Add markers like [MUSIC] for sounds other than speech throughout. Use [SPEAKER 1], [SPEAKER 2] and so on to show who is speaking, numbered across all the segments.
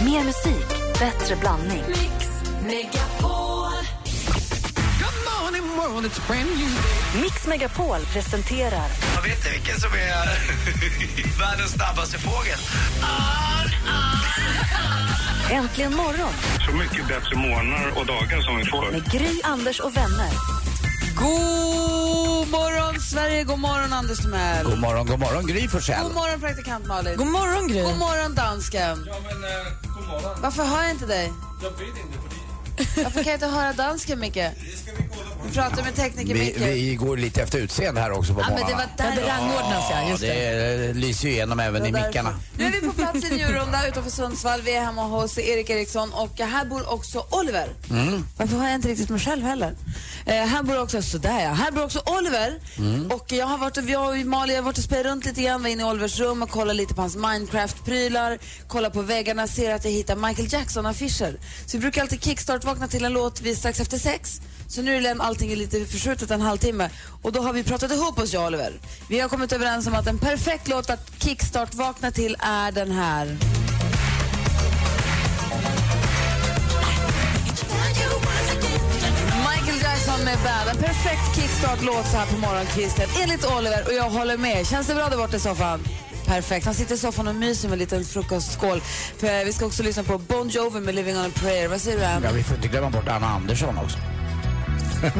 [SPEAKER 1] Mer musik, bättre blandning.
[SPEAKER 2] Mix Megapol.
[SPEAKER 1] Mix Megapol presenterar
[SPEAKER 3] Jag vet inte vilken som är [LAUGHS] världens snabbaste fågel.
[SPEAKER 1] Äntligen morgon
[SPEAKER 4] så mycket bättre månader och dagar som vi får.
[SPEAKER 1] med Gry, Anders och vänner.
[SPEAKER 5] God morgon, Sverige! God morgon, Anders Timell!
[SPEAKER 3] God morgon, god morgon Gry Forssell.
[SPEAKER 5] God morgon, praktikant Malin!
[SPEAKER 2] God morgon, Gry.
[SPEAKER 5] God morgon, dansken!
[SPEAKER 6] Ja, men eh, god morgon.
[SPEAKER 5] Varför hör jag inte dig?
[SPEAKER 6] Jag vet inte, för
[SPEAKER 5] Varför kan jag inte höra dansken, Micke?
[SPEAKER 6] det ska vi kolla på.
[SPEAKER 5] Vi pratar med tekniker
[SPEAKER 3] Vi,
[SPEAKER 5] Micke.
[SPEAKER 3] vi går lite efter utseende här också på
[SPEAKER 5] Ja, men det
[SPEAKER 3] morgnarna.
[SPEAKER 5] var där
[SPEAKER 2] Det rangordnas, ja.
[SPEAKER 3] Ja,
[SPEAKER 2] Just det.
[SPEAKER 3] det eh, lyser ju igenom även i
[SPEAKER 5] Det var
[SPEAKER 3] mickarna.
[SPEAKER 5] därför. Nu är vi på plats i Njurunda utanför Sundsvall. Vi är hemma hos Erik Eriksson och här bor också Oliver. Varför har jag inte riktigt mig själv heller? Eh, här bor också, sådär ja, här bor också Oliver. Och jag har varit och, jag och Malin har varit och spelat runt lite grann, var inne i Olivers rum och kollat lite på hans Minecraft-prylar, kollar på väggarna, ser att jag hittar Michael Jackson-affischer. Så vi brukar alltid kickstart-vakna till en låt vid strax efter sex. Så nu är det- allting är lite förskjutet en halvtimme. Och då har vi pratat ihop oss, jag och Oliver. Vi har kommit överens om att en perfekt låt att kickstart-vakna till är den här. Michael Jackson med Bad. En perfekt kickstart-låt så här på morgonkvisten. Enligt Oliver och jag håller med. Känns det bra där borta i soffan? Perfekt. Han sitter i soffan och myser med en liten frukostskål. För eh, vi ska också lyssna på Bon Jovi med Living on a prayer. Vad säger du, Ann?
[SPEAKER 3] Ja, vi får inte glömma bort Anna Andersson också.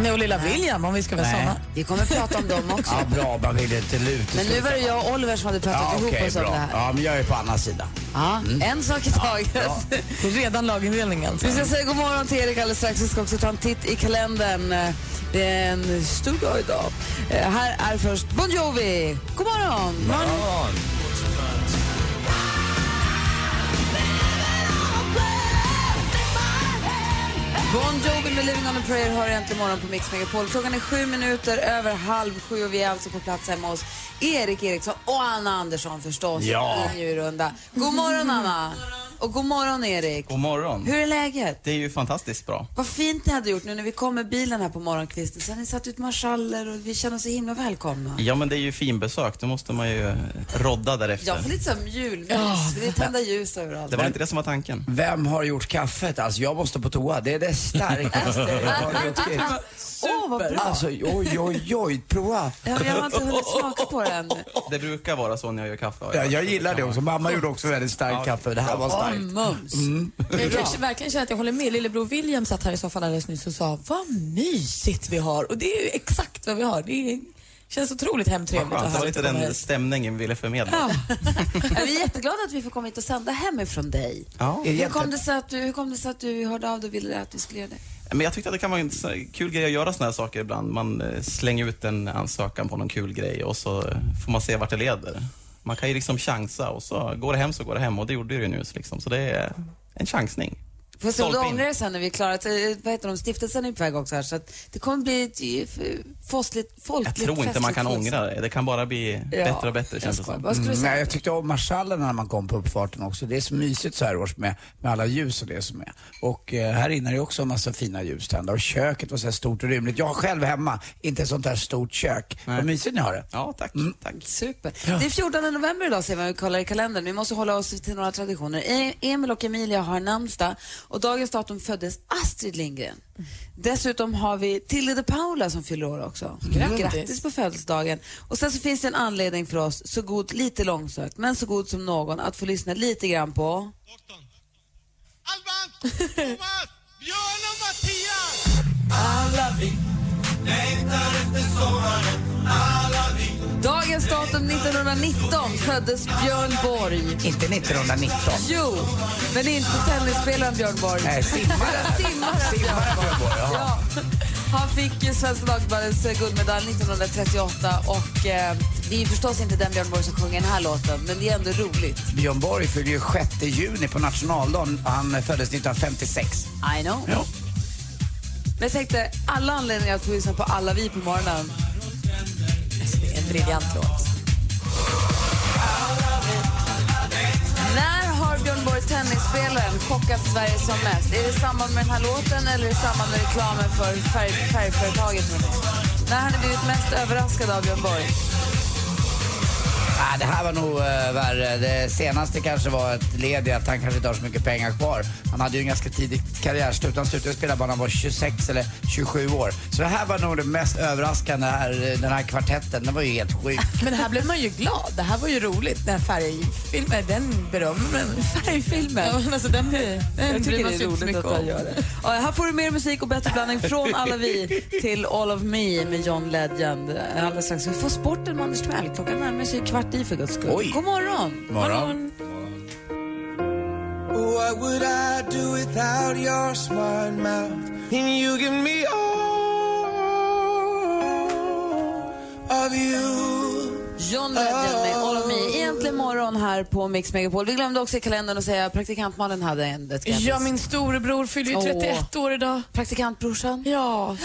[SPEAKER 2] Nu och lilla William, om vi ska vara
[SPEAKER 3] Nej.
[SPEAKER 2] såna.
[SPEAKER 5] Vi kommer prata om dem också.
[SPEAKER 3] Ja, bra, man vill inte luta
[SPEAKER 5] Men nu var det jag och Oliver som hade pratat
[SPEAKER 3] Ja,
[SPEAKER 5] ihop
[SPEAKER 3] okej,
[SPEAKER 5] oss om det
[SPEAKER 3] bra.
[SPEAKER 5] här.
[SPEAKER 3] Ja, men jag är på Annas sida.
[SPEAKER 5] Ja, En sak i taget.
[SPEAKER 2] Det är redan lagindelningen.
[SPEAKER 5] Vi ska säga god morgon till Erik alldeles strax. Vi ska också ta en titt i kalendern. Eh, Det är en stor dag idag. Eh, Här är först Bon Jovi. God morgon! Bon Jovi med Living on a prayer hör äntligen morgon på Mix Megapol. Klockan är sju minuter över halv sju och vi är alltså på plats hemma hos Erik Eriksson och Anna Andersson förstås.
[SPEAKER 3] Ja.
[SPEAKER 5] I en djurrunda. God morgon Anna! Och god morgon Erik!
[SPEAKER 7] God morgon.
[SPEAKER 5] Hur är läget?
[SPEAKER 7] Det är ju fantastiskt bra.
[SPEAKER 5] Vad fint ni hade gjort nu när vi kom med bilen här på morgonkvisten. Så har ni satt ut marschaller och vi känner oss så himla välkomna.
[SPEAKER 7] Ja, men det är ju finbesök. Då måste man ju eh, rodda därefter.
[SPEAKER 5] Jag får lite såhär julmys. Vi tända ljus överallt.
[SPEAKER 7] Det var inte det som var tanken.
[SPEAKER 3] Vem har gjort kaffet? Alltså, jag måste på toa. Det är det starkaste jag
[SPEAKER 5] [LAUGHS]
[SPEAKER 3] har druckit.
[SPEAKER 5] Åh, vad bra!
[SPEAKER 3] Alltså, oj, oj, oj. Prova.
[SPEAKER 5] Ja, men Jag har inte hunnit smaka på det ännu.
[SPEAKER 7] Det brukar vara så när jag gör kaffe.
[SPEAKER 3] Ja, jag gillar det också. Mamma gjorde också väldigt starkt kaffe. Det här var
[SPEAKER 5] Åh,
[SPEAKER 3] starkt.
[SPEAKER 5] mums!
[SPEAKER 2] Jag kanske verkligen känner att jag håller med. Lillebror William satt här i soffan alldeles nyss och sa vad mysigt vi har. Och det är ju exakt vad vi har. Det är, känns otroligt hemtrevligt och
[SPEAKER 7] Skönt. Det var
[SPEAKER 2] härligt
[SPEAKER 7] lite
[SPEAKER 2] att komma
[SPEAKER 7] den
[SPEAKER 2] hit.
[SPEAKER 7] stämningen vi ville förmedla.
[SPEAKER 5] Ja, Vi är jätteglada att vi får komma hit och sända hemifrån dig.
[SPEAKER 7] Ja.
[SPEAKER 3] Är det
[SPEAKER 5] Hur kom,
[SPEAKER 3] jätte-
[SPEAKER 5] det sig att du, hur kom det sig att du hörde av dig och ville att vi skulle göra det?
[SPEAKER 7] Men jag tyckte att det kan vara en sån- kul grej att göra såna här saker ibland. Man eh, slänger ut en ansökan på någon kul grej och så eh, får man se vart det leder. Man kan ju liksom chansa och så går det hem så går det hem och det gjorde det ju nu. så Liksom. Så det är en chansning.
[SPEAKER 5] Får se om du
[SPEAKER 7] Stolpe in.
[SPEAKER 5] ångrar dig sen när vi är klara. Så, eh, Vad heter de? Stiftelsen är på väg också här så att det kommer bli ett eh, f- festligt,
[SPEAKER 7] Jag
[SPEAKER 5] folkligt
[SPEAKER 7] tror inte man
[SPEAKER 5] festligt
[SPEAKER 7] kan
[SPEAKER 5] fest.
[SPEAKER 7] ångra det. Det kan bara bli
[SPEAKER 5] Ja,
[SPEAKER 7] bättre och bättre
[SPEAKER 5] jag
[SPEAKER 7] känns det
[SPEAKER 5] skojar.
[SPEAKER 7] som.
[SPEAKER 5] Vad skulle du
[SPEAKER 3] Mm,
[SPEAKER 5] säga?
[SPEAKER 3] nej, jag tyckte om marschallerna när man kom på uppfarten också. Det är så mysigt så här års med, med alla ljus och det som är. Och eh, här inne är det också en massa fina ljus tända och köket var så här stort och rymligt. Jag har själv hemma, inte ett sånt här stort kök. Vad mysigt ni har det.
[SPEAKER 7] Ja, tack.
[SPEAKER 5] Mm.
[SPEAKER 7] tack.
[SPEAKER 5] Super. Det är 14 november idag ser vi om vi kollar i kalendern. Vi måste hålla oss till några traditioner. E- Emil och Emilia har namnsdag och dagens datum föddes Astrid Lindgren. Dessutom har vi Tilde de Paula som fyller år också. Grattis. på födelsedagen. Och sen så finns det en anledning för oss, så god, lite långsökt, men så god som någon, att få lyssna lite grann på
[SPEAKER 8] Alban, Thomas, Björn och Mattias!
[SPEAKER 5] Dagens datum 1919 föddes Björn Borg.
[SPEAKER 3] Inte 1919.
[SPEAKER 5] Jo, men inte tennisspelaren Björn Borg.
[SPEAKER 3] Nej,
[SPEAKER 5] [LAUGHS]
[SPEAKER 3] simmaren.
[SPEAKER 5] Simmaren Björn
[SPEAKER 3] Simmaren var det på, ja.
[SPEAKER 5] Ja. Han fick ju Svenska Dagbladets eh, guldmedalj 1938 och eh, det är ju förstås inte den Björn Borg som sjunger den här låten, men det är ändå roligt.
[SPEAKER 3] Björn Borg fyller ju 6 juni på nationaldagen. Han eh, föddes 1956.
[SPEAKER 5] I know. Men jag tänkte, alla anledningar att få lyssna på alla vi på morgonen.
[SPEAKER 2] Alltså, det är en briljant låt.
[SPEAKER 5] När har Björn Borg, tennisspelaren, chockat Sverige som mest? Är det i samband med den här låten eller i samband med reklamen för färg, färgföretaget? När har ni blivit mest överraskade av Björn Borg?
[SPEAKER 3] Ah, det här var nog eh, värre. Det senaste kanske var ett led i att han kanske inte har så mycket pengar kvar. Han hade ju en ganska tidig karriärslut. Han slutade spela bara när han var 26 eller 27 år. Så det här var nog det mest överraskande, här, eh, den här kvartetten. Den var ju helt sjuk.
[SPEAKER 2] Men här blev man ju glad. Det här var ju roligt. Den här färgfilmen, den berömmer Färgfilmen? Ja, men alltså den, den,
[SPEAKER 5] Jag
[SPEAKER 2] bryr
[SPEAKER 5] tycker
[SPEAKER 2] man
[SPEAKER 5] det
[SPEAKER 2] sig
[SPEAKER 5] är
[SPEAKER 2] inte så
[SPEAKER 5] roligt
[SPEAKER 2] mycket
[SPEAKER 5] att
[SPEAKER 2] om.
[SPEAKER 5] han gör det. Ja, här får du mer musik och bättre blandning från alla vi till All of Me med John Legend. Alldeles strax. Vi får sporten med Anders Tvell. Klockan närmar sig kvart i för guds skull.
[SPEAKER 3] Oj.
[SPEAKER 5] God morgon!
[SPEAKER 3] Morgon.
[SPEAKER 8] What would I do without your smart mouth? And you give me all of you.
[SPEAKER 5] John Legend med All of Me. Egentligen morgon här på Mix Megapol. Vi glömde också i kalendern att säga att praktikantmannen hade en ett grattis.
[SPEAKER 2] Ja, min storebror fyller ju
[SPEAKER 5] Åh.
[SPEAKER 2] 31 år idag.
[SPEAKER 5] Praktikantbrorsan.
[SPEAKER 2] Ja,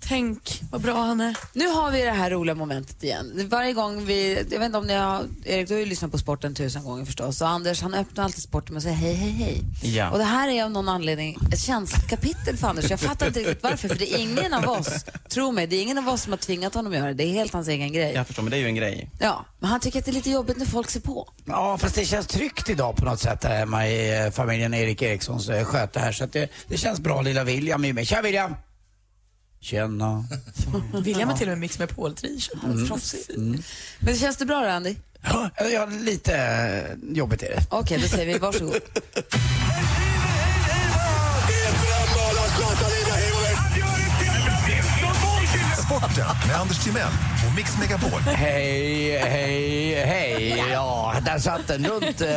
[SPEAKER 2] tänk vad bra han är.
[SPEAKER 5] Nu har vi det här roliga momentet igen. Varje gång vi, jag vet inte om ni har, Erik du har ju lyssnat på sporten tusen gånger förstås. Och Anders han öppnar alltid sporten med att säga hej, hej, hej.
[SPEAKER 7] Ja.
[SPEAKER 5] Och det här är av någon anledning ett känslkapitel för Anders. Jag fattar inte riktigt varför. För det är ingen av oss, tro mig, det är ingen av oss som har tvingat honom att göra det. Det är helt hans egen grej. Ja.
[SPEAKER 7] Jag förstår, men det är ju en grej.
[SPEAKER 5] men han tycker att det är lite jobbigt när folk ser på.
[SPEAKER 3] Ja, fast det känns tryggt idag på något sätt här hemma i eh, familjen Erik Erikssons eh, sköte här. Så att det, det känns bra lilla William i mig. Tja William! Tjena.
[SPEAKER 2] William har till och med Mix med Paul-t-shirt. Proffsig.
[SPEAKER 5] Men känns det bra då Andy?
[SPEAKER 3] Ja, Ja, lite eh, jobbigt är det.
[SPEAKER 5] Okej, då säger vi varsågod.
[SPEAKER 9] Sporten med Anders Timell och Mix Megapol.
[SPEAKER 3] Hej, hej, hej. Ja, där satt den. Runt eh,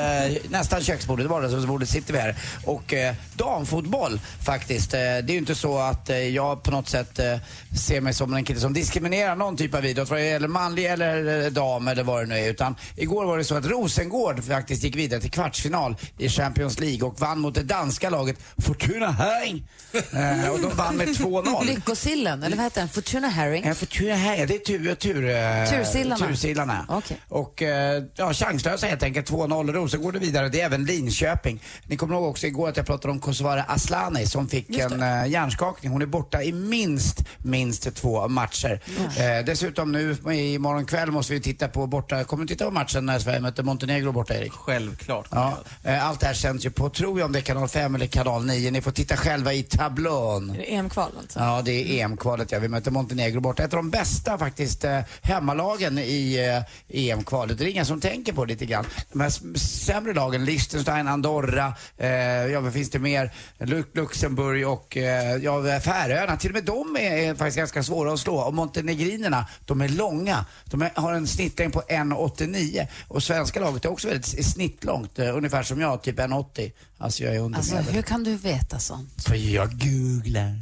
[SPEAKER 3] nästan köksbordet, vardagsrumsbordet, sitter vi här. Och eh, damfotboll faktiskt. Eh, det är ju inte så att eh, jag på något sätt eh, ser mig som en kille som diskriminerar någon typ av idrott. Vad det gäller manlig eller eh, dam eller vad det nu är. Utan igår var det så att Rosengård faktiskt gick vidare till kvartsfinal i Champions League och vann mot det danska laget Fortuna Höng. Eh, och de vann med 2-0.
[SPEAKER 5] Lyckosillen, eller vad heter den? Fortuna Herring.
[SPEAKER 3] Jag får tur här. Det är tur, tur, eh,
[SPEAKER 5] Tursillarna.
[SPEAKER 3] Tursillarna.
[SPEAKER 5] Okej.
[SPEAKER 3] Och eh, ja, chanslösa helt enkelt. 2-0 Rosengård är vidare. Det är även Linköping. Ni kommer ihåg också igår att jag pratade om Kosovare Aslani som fick en eh, hjärnskakning. Hon är borta i minst, minst två matcher. Eh, dessutom nu imorgon kväll måste vi titta på borta, kommer du titta på matchen när Sverige möter Montenegro borta Erik?
[SPEAKER 7] Självklart.
[SPEAKER 3] Ja, eh, allt det här sänds ju på, tror jag om det är kanal 5 eller kanal 9. Ni får titta själva i tablån.
[SPEAKER 2] Är det EM-kval alltså?
[SPEAKER 3] Ja, det är EM-kvalet. Ja. Vi möter Montenegro borta. Ett av de bästa faktiskt eh, hemmalagen i eh, EM-kvalet. Det är ingen som tänker på det lite grann. De här s- sämre lagen, Liechtenstein, Andorra, eh, ja vad finns det mer? Lu- Luxemburg och eh, ja, Färöarna. Till och med de är, är faktiskt ganska svåra att slå. Och montenegrinerna, de är långa. De är, har en snittlängd på 1,89. Och svenska laget är också väldigt s- snittlångt. Eh, ungefär som jag, typ 1,80. Alltså jag är under
[SPEAKER 5] Alltså,
[SPEAKER 3] medel.
[SPEAKER 5] hur kan du veta sånt?
[SPEAKER 3] För jag googlar.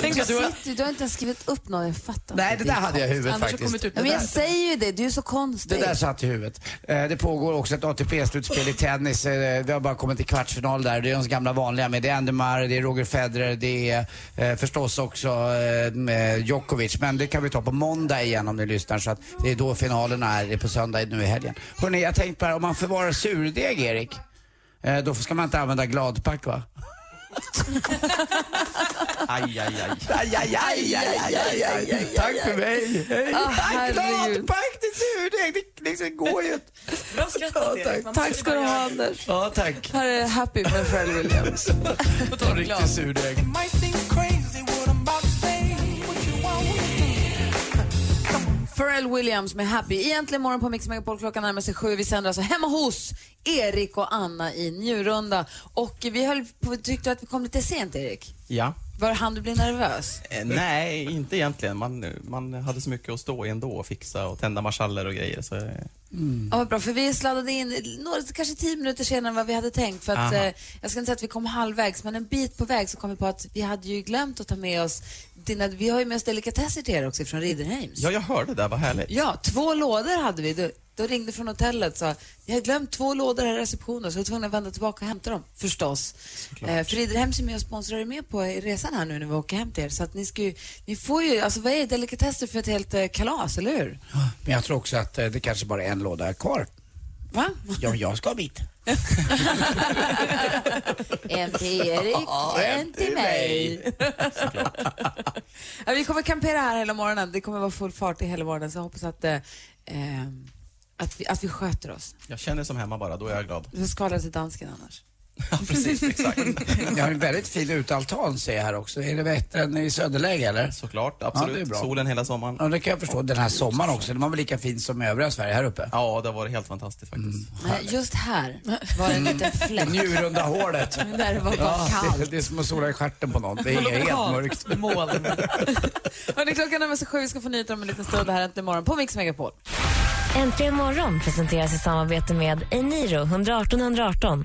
[SPEAKER 2] Tänk
[SPEAKER 5] Du,
[SPEAKER 2] att du har...
[SPEAKER 5] sitter, du har inte ens skrivit upp något, jag fattar
[SPEAKER 3] Nej, det
[SPEAKER 5] inte.
[SPEAKER 3] där hade jag i huvudet
[SPEAKER 2] Annars har
[SPEAKER 3] faktiskt.
[SPEAKER 2] kommit ut
[SPEAKER 5] Ja,
[SPEAKER 2] det
[SPEAKER 5] men
[SPEAKER 2] där.
[SPEAKER 5] jag säger ju det, du är så konstig.
[SPEAKER 3] Det där satt i huvudet. Eh, Det pågår också ett ATP-slutspel i tennis. Eh, Vi har bara kommit till kvartsfinal där. Det är de gamla vanliga med. Det är Endemar, det är Roger Federer, det är eh, förstås också eh, med Djokovic. Men det kan vi ta på måndag igen om ni lyssnar. Så att det är då finalerna är. Det är på söndag nu i helgen. Hörrni, jag tänkte bara om man förvarar surdeg, Erik. eh, Då ska man inte använda gladpack va?
[SPEAKER 7] Aj, aj, aj.
[SPEAKER 3] Aj, aj, aj, aj, aj, aj, aj, aj. Tack för mig! Hej.
[SPEAKER 5] Ah,
[SPEAKER 3] Tack,
[SPEAKER 5] herregud.
[SPEAKER 3] gladpack till surdeg! Det liksom går ju inte.
[SPEAKER 2] Bra skrattat
[SPEAKER 3] Ja, tack.
[SPEAKER 2] Erik. Man
[SPEAKER 5] Tack
[SPEAKER 2] måste
[SPEAKER 5] ska du
[SPEAKER 2] bara
[SPEAKER 5] ha
[SPEAKER 2] göra-
[SPEAKER 5] Anders.
[SPEAKER 3] Ja, tack.
[SPEAKER 5] Här är Happy med Pharrell
[SPEAKER 2] [LAUGHS]
[SPEAKER 5] Williams.
[SPEAKER 2] På tal om glad.
[SPEAKER 3] surdeg.
[SPEAKER 8] Might seem crazy what I'm about to say. What you want
[SPEAKER 5] Pharrell Williams med Happy. Egentligen morgon på Mix Megapol klockan närmar sig sju. Vi sänder alltså hemma hos Erik och Anna i Njurunda. Och vi höll på, tyckte att vi kom lite sent Erik.
[SPEAKER 7] Ja.
[SPEAKER 5] Var han du blir nervös?
[SPEAKER 7] Eh, Nej, inte egentligen. Man, man hade så mycket att stå i ändå och fixa och tända marschaller och grejer. Så, eh,
[SPEAKER 5] Ja, vad bra, för vi sladdade in några, kanske tio minuter senare än vad vi hade tänkt. För att,
[SPEAKER 7] Aha.
[SPEAKER 5] eh, jag ska inte säga att vi kom halvvägs, men en bit på väg så kom vi på att vi hade ju glömt att ta med oss dina, vi har ju med oss delikatesser till er också från Ridderheims.
[SPEAKER 7] ja, jag hörde det där. Vad härligt.
[SPEAKER 5] Ja, två lådor hade vi. Då, då ringde från hotellet och sa jag har glömt två lådor här i receptionen så jag var tvungen att vända tillbaka och hämta dem, förstås. Eh, Friderhems är med och sponsrar er med på resan här nu när vi åker hem till er. Så att ni, ska ju, ni får ju, alltså vad är delikatesser för ett helt eh, kalas, eller hur?
[SPEAKER 3] Men jag tror också att eh, det kanske bara är en låda kvar.
[SPEAKER 5] Va?
[SPEAKER 3] Ja, jag ska ha mitt.
[SPEAKER 5] en till Erik, en till mig. [LAUGHS] Ja, vi kommer kampera här hela morgonen. Det kommer vara full fart i hela morgonen så jag hoppas att eh, eh, Att vi, att vi sköter oss.
[SPEAKER 7] Jag känner som hemma bara, då är
[SPEAKER 3] [LAUGHS]
[SPEAKER 7] jag glad.
[SPEAKER 5] Vi skalar till dansken annars.
[SPEAKER 7] Ja, precis, exakt.
[SPEAKER 3] Ni har en väldigt fin utealtan ser jag här också. Är det bättre än i Söderläge eller?
[SPEAKER 7] Såklart,
[SPEAKER 3] Ja, det är
[SPEAKER 7] absolut.
[SPEAKER 3] bra.
[SPEAKER 7] Solen hela sommaren.
[SPEAKER 3] Ja, det kan jag förstå. Den här sommaren också, den var väl lika fin som i övriga Sverige här uppe?
[SPEAKER 7] Ja, det har varit helt fantastiskt faktiskt.
[SPEAKER 3] Mm.
[SPEAKER 5] Men just här var det en [LAUGHS] liten fläck.
[SPEAKER 3] Njurunda hålet.
[SPEAKER 5] Där det var bara
[SPEAKER 3] det,
[SPEAKER 5] kallt.
[SPEAKER 3] det är som att sola i stjärten på någon. Det är helt mörkt.
[SPEAKER 5] Moln. Hörrni, klockan närmar sig sju. Vi ska få nyheter om en liten stund. Det här är Äntligen morgon på Mix Megapol.
[SPEAKER 10] Äntligen morgon presenteras i samarbete med Eniro 118 118.